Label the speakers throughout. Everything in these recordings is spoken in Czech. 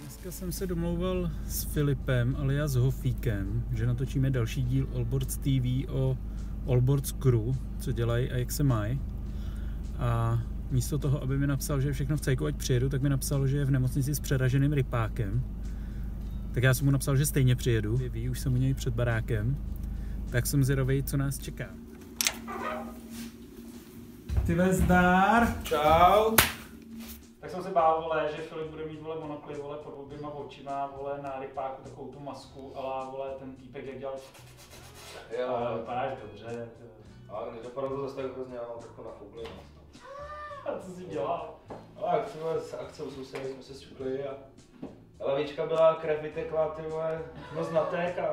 Speaker 1: Dneska jsem se domlouval s Filipem, ale já s Hofíkem, že natočíme další díl Allboards TV o Allboards Crew, co dělají a jak se mají. A místo toho, aby mi napsal, že je všechno v cejku, ať přijedu, tak mi napsal, že je v nemocnici s přeraženým rypákem. Tak já jsem mu napsal, že stejně přijedu. Ví, už jsem u něj před barákem. Tak jsem zvědavý, co nás čeká. Ty zdar!
Speaker 2: Čau.
Speaker 1: Tak jsem se bál, vole, že Filip bude mít, vole, monokly, vole, pod oběma očima, vole, na rypáku takovou tu masku, ale, vole, ten týpek, jak dělal, ale
Speaker 2: Jo,
Speaker 1: vypadáš dobře, ty vole.
Speaker 2: ale nedopadlo to zase tak hrozně, já mám trochu no. na fubli.
Speaker 1: a eh, co jsi dělal?
Speaker 2: No, a akce, vole, s akce u sousedí jsme se šukli a lavička byla, krev vytekla, ty vole, no znatek a,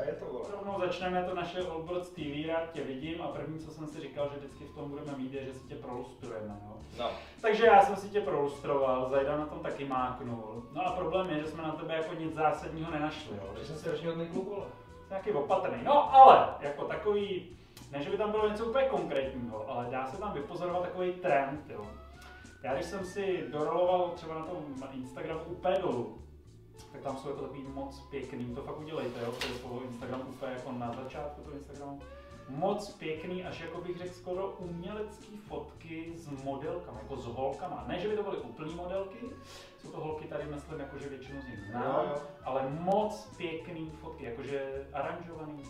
Speaker 2: a, je to, vole.
Speaker 1: Rovnou začneme to naše Allbirds TV, rád tě vidím a první, co jsem si říkal, že vždycky v tom budeme mít, je, že si tě prolustrujeme, jo.
Speaker 2: No,
Speaker 1: Takže já jsem si tě prolustroval, Zajda na tom taky máknul. No a problém je, že jsme na tebe jako nic zásadního nenašli, jo.
Speaker 2: že jsem strašně hodný kluk, vole.
Speaker 1: Jsem Nějaký opatrný. No ale, jako takový, ne že by tam bylo něco úplně konkrétního, ale dá se tam vypozorovat takový trend, jo. Já když jsem si doroloval třeba na tom Instagramu úplně dolů, tak tam jsou jako takový moc pěkný, to fakt udělejte, jo, to je slovo Instagram úplně jako na začátku toho Instagramu. Moc pěkný, až jako bych řekl skoro umělecký fotky s modelkama, jako s holkama. Ne, že by to byly úplný modelky, jsou to holky tady, myslím, jako že většinu z nich znám,
Speaker 2: No, Jo, jo.
Speaker 1: ale moc pěkný fotky, jakože aranžovaný.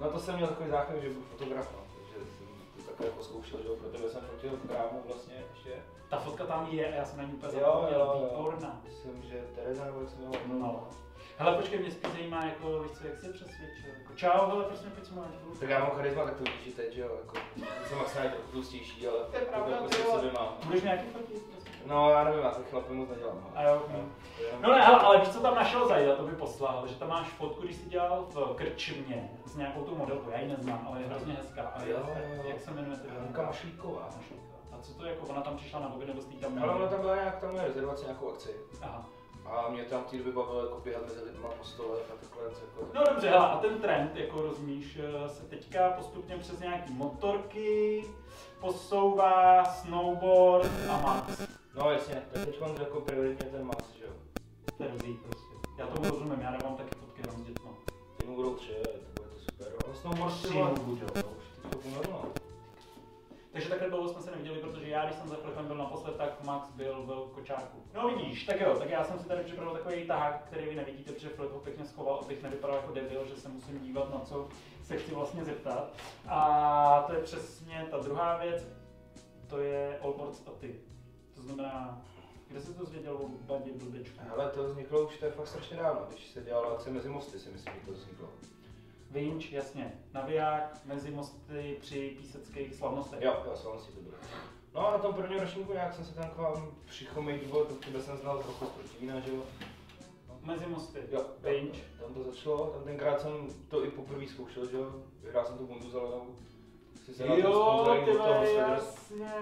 Speaker 2: No to jsem měl takový záchvat, že byl fotograf, no, takže jsem to takhle jako zkoušel, že jo, pro tebe jsem fotil krámu vlastně ještě.
Speaker 1: Ta fotka tam je a já jsem na ní úplně
Speaker 2: Jo,
Speaker 1: zapomněl,
Speaker 2: jo, Hmm. jo.
Speaker 1: výborná.
Speaker 2: Myslím, že Tereza nebo jak se jmenovala.
Speaker 1: No. Hele, počkej, mě spíš zajímá, jako, víš co, jak jsi je přesvědčil. Jako, čau, hele, prosím, pojď se mám.
Speaker 2: Tak já mám charisma, tak to vidíš že teď, že jo, jako, jsem maximálně trochu tlustější, ale
Speaker 1: To je pravda,
Speaker 2: jako
Speaker 1: ty
Speaker 2: si v
Speaker 1: vole.
Speaker 2: sobě mám.
Speaker 1: Budeš nějaký fotky? prosím?
Speaker 2: No, já nevím, já se chlapem moc nedělám.
Speaker 1: A jo, no. No ne, ale, ale víš, co tam našel zajít, to by poslal, že tam máš fotku, když jsi dělal v krčmě s nějakou tu modelkou, já ji neznám, ale je hrozně hezká. A je
Speaker 2: Jo,
Speaker 1: hezká.
Speaker 2: jo, jo.
Speaker 1: Jak se jmenuje ty
Speaker 2: Hanka Mašlíková.
Speaker 1: A co to je, jako ona tam přišla na bobě, nebo jsi jí tam
Speaker 2: Ale ona
Speaker 1: měl?
Speaker 2: tam byla nějak, tam je rezervace nějakou akci.
Speaker 1: Aha.
Speaker 2: A mě tam v té době bavilo jako běhat mezi lidma po stolech a takhle. Jako...
Speaker 1: No dobře, hele, a ten trend, jako rozumíš, eh, se teďka postupně přes nějaký motorky posouvá snowboard a max.
Speaker 2: No jasně, tak teď jako prioritně ten Max, že jo.
Speaker 1: To je dobrý prostě. Já tomu rozumím, já nemám taky fotky jenom s dětma.
Speaker 2: Ty mu budou tři, to bude to super. No, snowboard ty
Speaker 1: Tři
Speaker 2: vole,
Speaker 1: mu budou,
Speaker 2: to No, už teď to no. pomrlo.
Speaker 1: Takže takhle dlouho jsme se neviděli, protože já, když jsem za Filipem byl naposled, tak Max byl v kočáku. No vidíš, tak jo, tak já jsem si tady připravil takový tahák, který vy nevidíte, protože Filip ho pěkně schoval, abych nevypadal jako debil, že se musím dívat na co se chci vlastně zeptat. A to je přesně ta druhá věc, to je Allboards a ty. To znamená, kde jsi to zvěděl o badě blbečku?
Speaker 2: Ale to vzniklo už, to je fakt strašně dávno, když se dělala akce mezi mosty, si myslím, že to vzniklo.
Speaker 1: Vinč, jasně, naviják, mezi mosty při píseckých slavnostech.
Speaker 2: Jo, jo, Svalon si to bylo. No a na tom prvním ročníku nějak jsem se tam k vám přichomejt, vole, to tebe jsem znal z roku z Protivína, že jo.
Speaker 1: Mezi mosty.
Speaker 2: Jo,
Speaker 1: Pinch.
Speaker 2: Tam to začalo, tam tenkrát jsem to i poprvé zkoušel, že jo. Vyhrál jsem tu bundu zelenou. Jsi se na ten
Speaker 1: Jo,
Speaker 2: sponsoring
Speaker 1: ty
Speaker 2: od toho
Speaker 1: vole,
Speaker 2: Mercedes.
Speaker 1: jasně,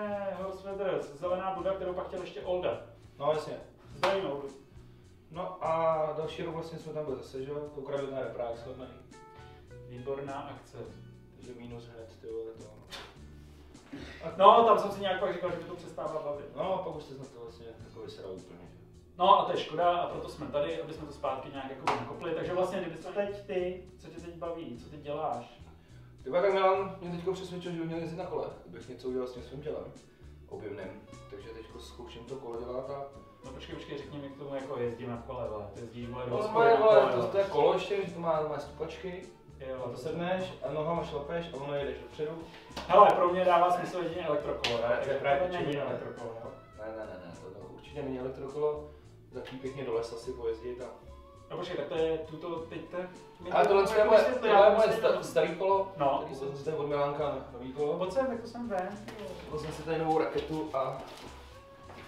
Speaker 1: Horse Feathers, zelená buda, kterou pak chtěl ještě Olda.
Speaker 2: No jasně.
Speaker 1: Zdravím Oldu.
Speaker 2: No a další rok vlastně jsme tam byli zase, že jo. Koukali na reprák shodnej.
Speaker 1: Výborná akce.
Speaker 2: Takže minus hned, ty vole, to.
Speaker 1: No, tam jsem si nějak pak říkal, že by to přestává bavit.
Speaker 2: No a pak už jste na to vlastně jako vysral úplně, že jo.
Speaker 1: No a to je škoda a proto jsme tady, aby jsme to zpátky nějak jako nakopli. Takže vlastně, kdyby se teď ty, co tě teď baví, co ty děláš?
Speaker 2: Ty vole, tak Milan mě teďko přesvědčil, že bych měl jezdit na kole, abych něco udělal s tím svým tělem objemným. Takže teďko zkouším to kolo dělat a
Speaker 1: No počkej, počkej, řekni mi k tomu, jako jezdím na kole, vole. Ty jezdíš, vole, do
Speaker 2: No,
Speaker 1: hospody
Speaker 2: má,
Speaker 1: na
Speaker 2: vole, to,
Speaker 1: vole.
Speaker 2: to je kolo ještě, to má, má stupačky,
Speaker 1: Jo,
Speaker 2: to sedneš a nohama šlapeš a ono jedeš dopředu.
Speaker 1: Hele, pro mě dává smysl jedině elektrokolo, jo.
Speaker 2: Ne, to je
Speaker 1: Takže
Speaker 2: právě
Speaker 1: to není
Speaker 2: čím jinak.
Speaker 1: elektrokolo, jo.
Speaker 2: Ne, ne, ne, ne, to, to určitě není elektrokolo, taky pěkně do lesa si pojezdit a...
Speaker 1: No počkej, tak to je tuto, teď to... mi
Speaker 2: Ale
Speaker 1: to
Speaker 2: tohle je
Speaker 1: jako
Speaker 2: moje,
Speaker 1: vysvětli,
Speaker 2: tohle
Speaker 1: já
Speaker 2: je moje
Speaker 1: vůbec
Speaker 2: sta,
Speaker 1: nevím.
Speaker 2: starý kolo,
Speaker 1: No.
Speaker 2: který jsem si tady od Milánka nový kolo.
Speaker 1: Pojď sem, tak to jako jsem ven.
Speaker 2: Koupil jsem si tady novou raketu a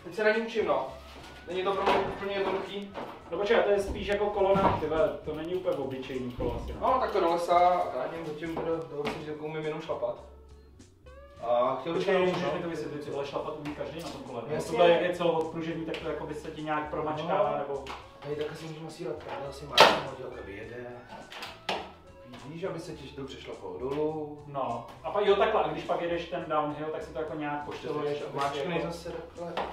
Speaker 2: teď se na ní učím, no. Není to pro mě úplně jednoduchý.
Speaker 1: No počkej, to je spíš jako kolona, ty vole, to není úplně obyčejný kolo asi. No.
Speaker 2: No, tak to do lesa a já něm zatím teda do lesa, že umím jenom šlapat. A chtěl bych
Speaker 1: Počkej, no.
Speaker 2: jenom-
Speaker 1: můžeš mi to vysvětlit, ty vole šlapat umí každý na tom kole. No,
Speaker 2: Jasně.
Speaker 1: tohle jak je celoodpružení, tak to jako by se ti nějak promačkává,
Speaker 2: No.
Speaker 1: nebo...
Speaker 2: Tady takhle si můžeme sílat právě, asi máš modelka vyjede. Víš, aby se ti dobře šlapalo dolů.
Speaker 1: No, a pak jo takhle, a když pak jedeš ten downhill, tak si to jako nějak jako- pošteluješ.
Speaker 2: Máčknej zase jako- takhle.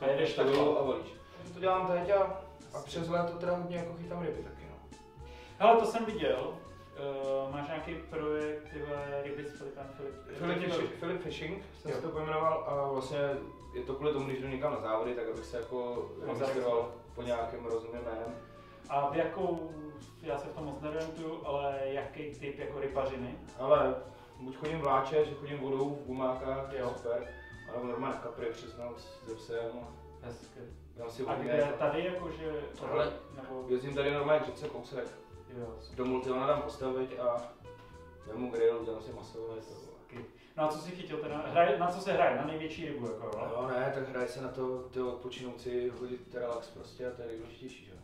Speaker 1: A jedeš
Speaker 2: Tak
Speaker 1: takhle.
Speaker 2: dolů a volíš. To dělám teď a A přes léto teda hodně jako chytám ryby taky, no.
Speaker 1: Hele, to jsem viděl. Uh, máš nějaký projekt, tyhle ryby s Filipem Filip?
Speaker 2: Philip Fishing, Philip Fishing jsem
Speaker 1: Jo.
Speaker 2: si to pojmenoval a vlastně je to kvůli tomu, když jdu někam na závody, tak abych se jako registroval po nějakém rozumném jménu.
Speaker 1: A v jakou, já se v tom moc neorientuju, ale jaký typ jako rybařiny?
Speaker 2: Ale buď chodím vláče, že chodím vodou v gumákách,
Speaker 1: Jo.
Speaker 2: jo. super. A nebo normálně v kapry přiznám s se psem a
Speaker 1: Hezky.
Speaker 2: dám si
Speaker 1: A
Speaker 2: vodní.
Speaker 1: kde tady jakože,
Speaker 2: Tohle.
Speaker 1: nebo,
Speaker 2: Jezdím tady normálně k řece kousek.
Speaker 1: jo,
Speaker 2: Do multiona dám postavit a vemu grill, dělám si masové. to.
Speaker 1: hezky. No a co jsi chytil teda? Hraje, na co se hraje? Na největší rybu jako, jo?
Speaker 2: No ne, tak hraje se na to, ty odpočinouci hodit relax prostě a to je nejdůležitější, že jo.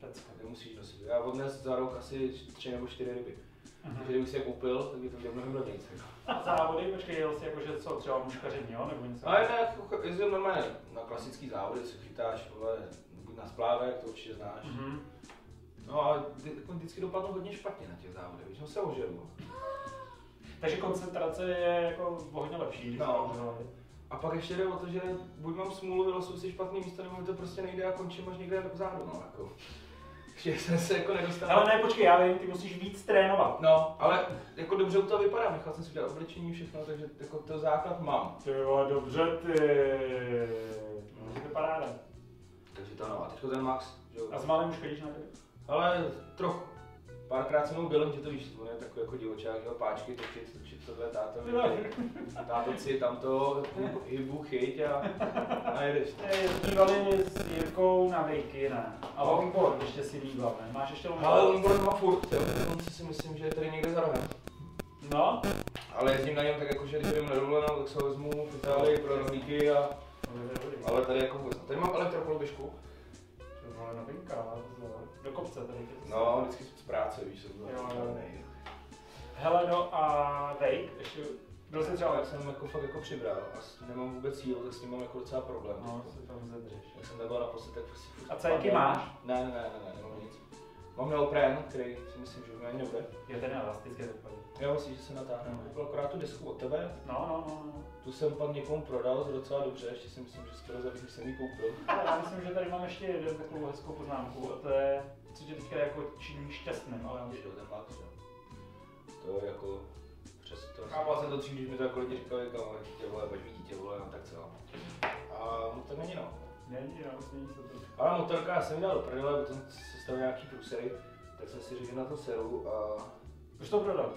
Speaker 1: Pecka.
Speaker 2: Nemusíš nosit. Já odnes za rok asi tři nebo čtyři ryby.
Speaker 1: Mhm.
Speaker 2: Takže kdybych si je koupil, tak by to bylo mnohem levnější.
Speaker 1: A závody, počkej, jel jsi jakože co, třeba muškaření, jo? Nebo něco?
Speaker 2: Ale ne, jako jezdím normálně na klasický závody, co chytáš, vole, buď na splávek, to určitě znáš.
Speaker 1: Mhm.
Speaker 2: No a vždy- jako vždycky dopadlo hodně špatně na těch závodech, když jsem se ožil.
Speaker 1: Takže koncentrace je jako hodně lepší. když
Speaker 2: No.
Speaker 1: jsme udělali.
Speaker 2: A pak ještě jde o to, že buď mám smůlu, vylosuju si špatný místo, nebo mi to prostě nejde a končím až někde vzadu, no jako. Že jsem se jako nedostal.
Speaker 1: Ale ne, počkej, já vím, ty musíš víc trénovat.
Speaker 2: No, ale jako dobře u toho vypadá, nechal jsem si udělat oblečení všechno, takže jako to základ mám.
Speaker 1: Ty jo, dobře ty. To je paráda.
Speaker 2: Takže to no, a teďko ten Max, že jo.
Speaker 1: A s malým už chodíš na ryby?
Speaker 2: Ale trochu. Párkrát jsem mu byl, že to víš, on je takový jako divočák, že jo, páčky, točit, točit tohle, táto, táto si tamto, hybu, chyť a, a jedeš.
Speaker 1: Bývali s Jirkou na vejky, ne? A
Speaker 2: No.
Speaker 1: longboard ještě si býval, ne? Máš ještě
Speaker 2: Ale
Speaker 1: longboard?
Speaker 2: on bude má furt, jo, dokonce si myslím, že je tady někde za rohem.
Speaker 1: No.
Speaker 2: Ale jezdím na něm tak jako, že když jdem na dovolenou, tak se ho vezmu v Itálii pro rohlíky a... Ale tady jako vůbec. Tady mám elektrokoloběžku.
Speaker 1: To byla novinka, ale to- do kopce tady.
Speaker 2: No, vždycky z práce, víš, jsem to
Speaker 1: Jo, jo. Hele, no a vejk, ještě byl jsi třeba
Speaker 2: jak jsem jako fakt jako přibral a s- nemám vůbec sílu, tak s ním mám jako docela problém.
Speaker 1: No, se tam zadržíš.
Speaker 2: Jak jsem nebyl naposled, tak prostě furt
Speaker 1: A cajky
Speaker 2: spadám.
Speaker 1: máš?
Speaker 2: Ne, ne, ne, ne, nemám nic. Mám neoprén, který si myslím, že už mě ani nebude.
Speaker 1: Je ten elastický dopadí.
Speaker 2: Já myslím, že se natáhne.
Speaker 1: No.
Speaker 2: Koupil akorát tu desku od tebe,
Speaker 1: No, no, no, no.
Speaker 2: tu jsem pak někomu prodal docela dobře, ještě si myslím, že skoro za víc, než jsem ji koupil.
Speaker 1: Ale Já myslím, že tady mám ještě jednu takovou hezkou poznámku a to je, co tě teďka jako činí šťastným, ale
Speaker 2: Že jo, ten Max, jo. To je jako přes to. Chápal jsem to dřív, když mi to jako lidi říkali, kámo, dítě vole, bažmí dítě vole, no tak co. A no to není no.
Speaker 1: není, no, není se to.
Speaker 2: Ale motorka, já jsem ji dal do prdele, potom se staly nějaký průsery, tak jsem si řekl že na to seru a
Speaker 1: Už to prodal?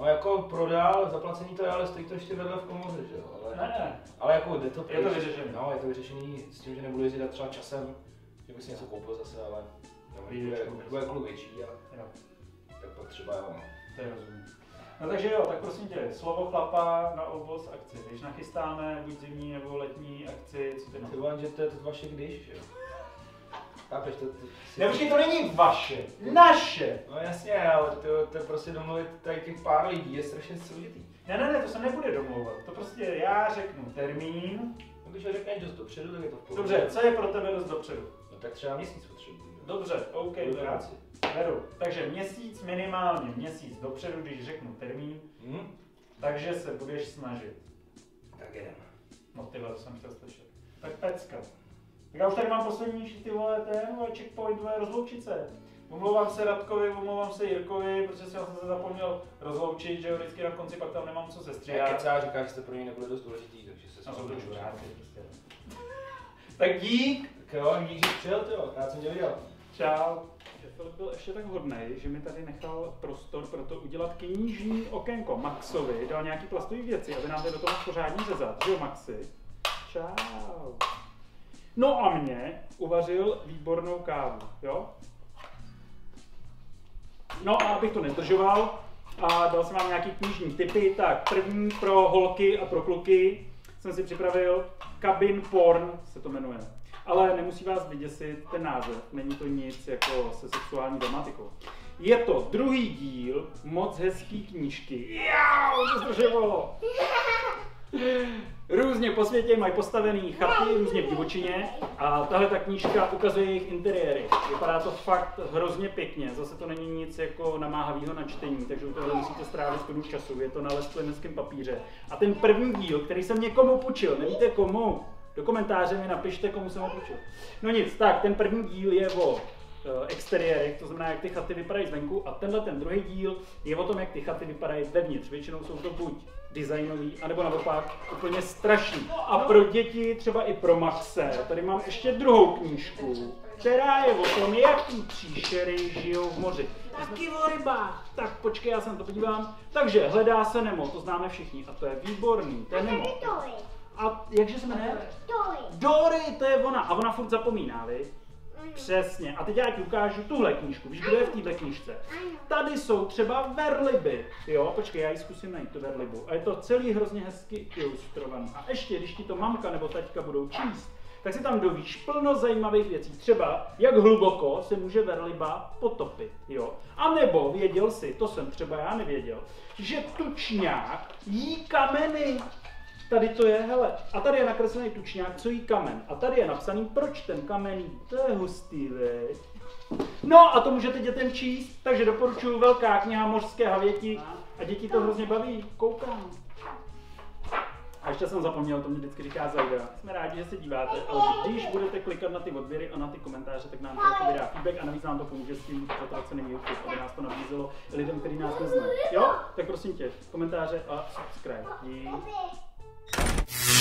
Speaker 2: No jako prodal, zaplacení to je, ale stojí to ještě vedle v komoře, že jo?
Speaker 1: Ne,
Speaker 2: Ale,
Speaker 1: ne,
Speaker 2: ale jako jde to
Speaker 1: je to vyřešený.
Speaker 2: No, je to vyřešený s tím, že nebudu jezdit třeba časem, že bych si něco koupil zase, ale tam bude,
Speaker 1: Lídečku.
Speaker 2: bude klub větší a
Speaker 1: Jo,
Speaker 2: tak pak třeba jo. no.
Speaker 1: to je rozumím. No takže jo, tak prosím tě, slovo chlapa na obvoz akci. Když nachystáme buď zimní nebo letní akci, co ty na
Speaker 2: Ty
Speaker 1: to?
Speaker 2: vole, že to je to vaše když, že jo? Chápeš, to ty... si-
Speaker 1: Ne, počkej, to není vaše, naše!
Speaker 2: No jasně, ale to, to je prostě domluvit tady těch pár lidí, je strašně složitý.
Speaker 1: Ne, ne, ne, to se nebude domlouvat. To prostě já řeknu termín.
Speaker 2: No, když ho řekneš dost dopředu, tak je to v pohodě.
Speaker 1: Dobře, co je pro tebe dost dopředu?
Speaker 2: No tak třeba měsíc potřebuji. jo.
Speaker 1: Dobře, OK,
Speaker 2: Kvůli
Speaker 1: beru.
Speaker 2: práci.
Speaker 1: beru. Takže měsíc minimálně, měsíc dopředu, když řeknu termín, Mhm.
Speaker 2: Hm?
Speaker 1: takže se budeš snažit.
Speaker 2: Tak jedeme.
Speaker 1: No ty vole, to jsem chtěl slyšet. Tak pecka. Tak já už tady mám poslední š- ty vole, ten vole, checkpoint, vole, rozloučit se. Omlouvám se Radkovi, omlouvám se Jirkovi, protože jsem se zapomněl rozloučit, že jo, vždycky na konci pak tam nemám co
Speaker 2: Já
Speaker 1: sestříhat.
Speaker 2: kecá, říká, že jste pro něj nebyli dost důležitý, takže se
Speaker 1: Na to
Speaker 2: shodneme.
Speaker 1: budu čuráci, prostě. Tak dík.
Speaker 2: Tak jo, dík, že jsi přijel, ty jo, rád jsem tě viděl.
Speaker 1: Čau. Že Filip byl ještě tak hodnej, že mi tady nechal prostor pro to udělat knižní okénko Maxovi, dal nějaký plastový věci, aby nám to do toho pořádně řezat. Jo, Maxi? Čau. No a mě uvařil výbornou kávu, jo? No a abych to nedržoval a dal jsem vám nějaký knižní typy, tak první pro holky a pro kluky jsem si připravil Cabin Porn se to jmenuje. Ale nemusí vás vyděsit ten název, není to nic jako se sexuální tematikou. Je to druhý díl moc hezký knížky. Jau, to zdržovalo! Různě po světě mají postavený chaty, různě v divočině a tahle ta knížka ukazuje jejich interiéry. Vypadá to fakt hrozně pěkně, zase to není nic jako namáhavého na čtení, takže u toho musíte strávit spoustu času, je to na lesklineckém papíře. A ten první díl, který jsem někomu půjčil, nevíte komu, Do komentáře mi napište, komu jsem ho půjčil. No nic, tak ten první díl je o eh, exteriérech, to znamená, jak ty chaty vypadají zvenku a tenhle ten druhý díl je o tom, jak ty chaty vypadají vevnitř. Většinou jsou to buď designový, anebo naopak úplně strašný. A pro děti, třeba i pro Maxe, tady mám ještě druhou knížku, která je o tom, jaký příšery žijou v moři. Taky o rybách. Tak počkej, já se na to podívám. Takže hledá se Nemo, to známe všichni a to je výborný, to je Nemo. A jakže se jmenuje? Dory, to je ona. A ona furt zapomíná, vy? Přesně. A teď já ti ukážu tuhle knížku. Víš, kdo je v téhle knížce? Tady jsou třeba verliby. Jo, počkej, já ji zkusím najít, tu verlibu. A je to celý hrozně hezky ilustrovaný. A ještě, když ti to mamka nebo taťka budou číst, tak si tam dovíš plno zajímavých věcí. Třeba, jak hluboko se může verliba potopit, jo. A nebo věděl si, to jsem třeba já nevěděl, že tučňák jí kameny. Tady to je, hele, a tady je nakreslený tučňák, co jí kamen. A tady je napsaný, proč ten kamen jí. To je hustý, veď. No a to můžete dětem číst, takže doporučuju velká kniha mořské havěti a děti to hrozně baví, koukám. A ještě jsem zapomněl, to mě vždycky říká Zajda. Jsme rádi, že se díváte, ale když budete klikat na ty odběry a na ty komentáře, tak nám to jako vydá feedback a navíc nám to pomůže s tím zatracený YouTube, aby nás to nabízelo lidem, kteří nás neznají. Jo? Tak prosím tě, komentáře a subscribe. Dík.